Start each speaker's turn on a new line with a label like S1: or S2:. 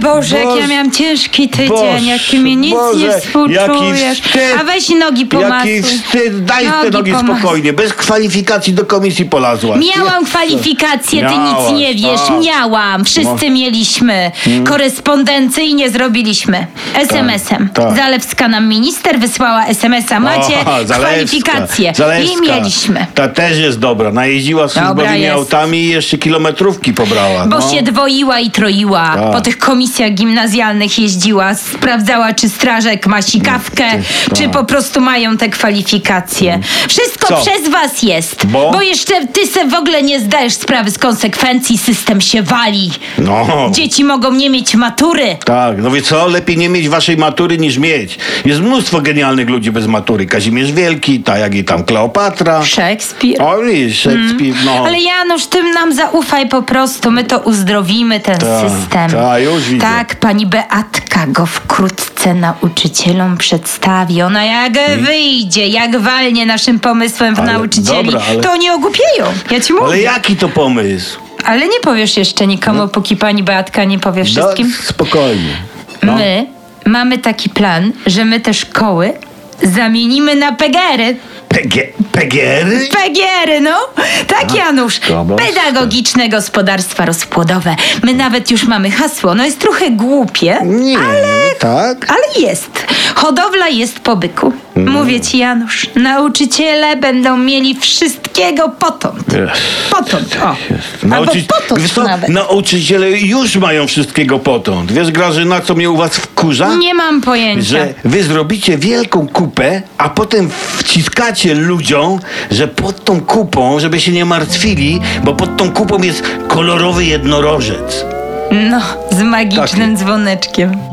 S1: Boże, jak
S2: Boże,
S1: ja miałem ciężki tydzień,
S2: Boże,
S1: jak ty mi nic nie
S2: Boże,
S1: współczujesz.
S2: jaki wstyd,
S1: A weź nogi pomasuj.
S2: Jaki wstyd, daj te nogi
S1: pomasuj.
S2: spokojnie, bez kwalifikacji do komisji polazłaś.
S1: Miałam kwalifikacje, ty nic nie
S2: Miałaś,
S1: wiesz.
S2: tak. No. Mm.
S1: Miałam. Wszyscy mieliśmy. Korespondencyjnie zrobiliśmy. SMS-em.
S2: tak.
S1: Zalewska nam minister wysłała SMS-a. Macie
S2: O, Zalewska,
S1: kwalifikacje.
S2: Zalewska.
S1: I mieliśmy.
S2: Ta też jest dobra, najeździła służbowymi
S1: jest.
S2: autami i jeszcze kilometrówki pobrała.
S1: Bo
S2: no.
S1: się dwoiła i troiła.
S2: Tak.
S1: Po tych komisjach gimnazjalnych jeździła, sprawdzała, czy strażek ma sikawkę,
S2: No, tak.
S1: czy po prostu mają te kwalifikacje. Wszystko
S2: Mm. Co?
S1: przez was jest. Bo?
S2: Bo?
S1: jeszcze ty se w ogóle nie zdajesz sprawy z konsekwencji, system się wali.
S2: No.
S1: Dzieci mogą nie mieć matury.
S2: Tak, no wie co, lepiej nie mieć waszej matury niż mieć. Jest mnóstwo genialnych ludzi bez matury. Kazimierz Wielki, ta jak i tam Kleopatra.
S1: Szekspir.
S2: O, i Szekspir, no.
S1: Mm. Ale Janusz, tym nam zaufaj po prostu. My to uzdrowimy, ten
S2: Tak,
S1: system.
S2: tak, już widzę.
S1: Tak, pani Beatka go wkrótce nauczycielom przedstawi. Ona jak wyjdzie, jak walnie naszym pomysłem w
S2: Hmm? Ale-
S1: nauczycieli,
S2: dobra, ale-
S1: to oni ogłupieją. Ja ci mówię.
S2: Ale Hmm? jaki to pomysł?
S1: Ale nie powiesz jeszcze nikomu, póki pani Beatka nie powie wszystkim.
S2: No, spokojnie. No.
S1: My mamy taki plan, że my te szkoły zamienimy na pegery.
S2: Pegie, Pegiery?
S1: Pegiery, no? Tak, Janusz.
S2: dobra.
S1: Pedagogiczne gospodarstwa rozpłodowe. My nawet już mamy hasło. No jest trochę głupie,
S2: Nie, tak?
S1: ale jest. Hodowla jest po byku.
S2: Mm.
S1: Mówię ci, Janusz, nauczyciele będą mieli wszystkiego potąd. Potąd, o. Albo
S2: Nauczy- Wiesz
S1: potąd
S2: co,
S1: nawet.
S2: Nauczyciele już mają wszystkiego potąd. Wiesz, Grażyna, co mnie u was wkurza?
S1: Nie mam pojęcia.
S2: Że wy zrobicie wielką kupę, a potem wciskacie ludziom, że pod tą kupą, żeby się nie martwili, bo pod tą kupą jest kolorowy jednorożec. Tak.
S1: No, z magicznym dzwoneczkiem.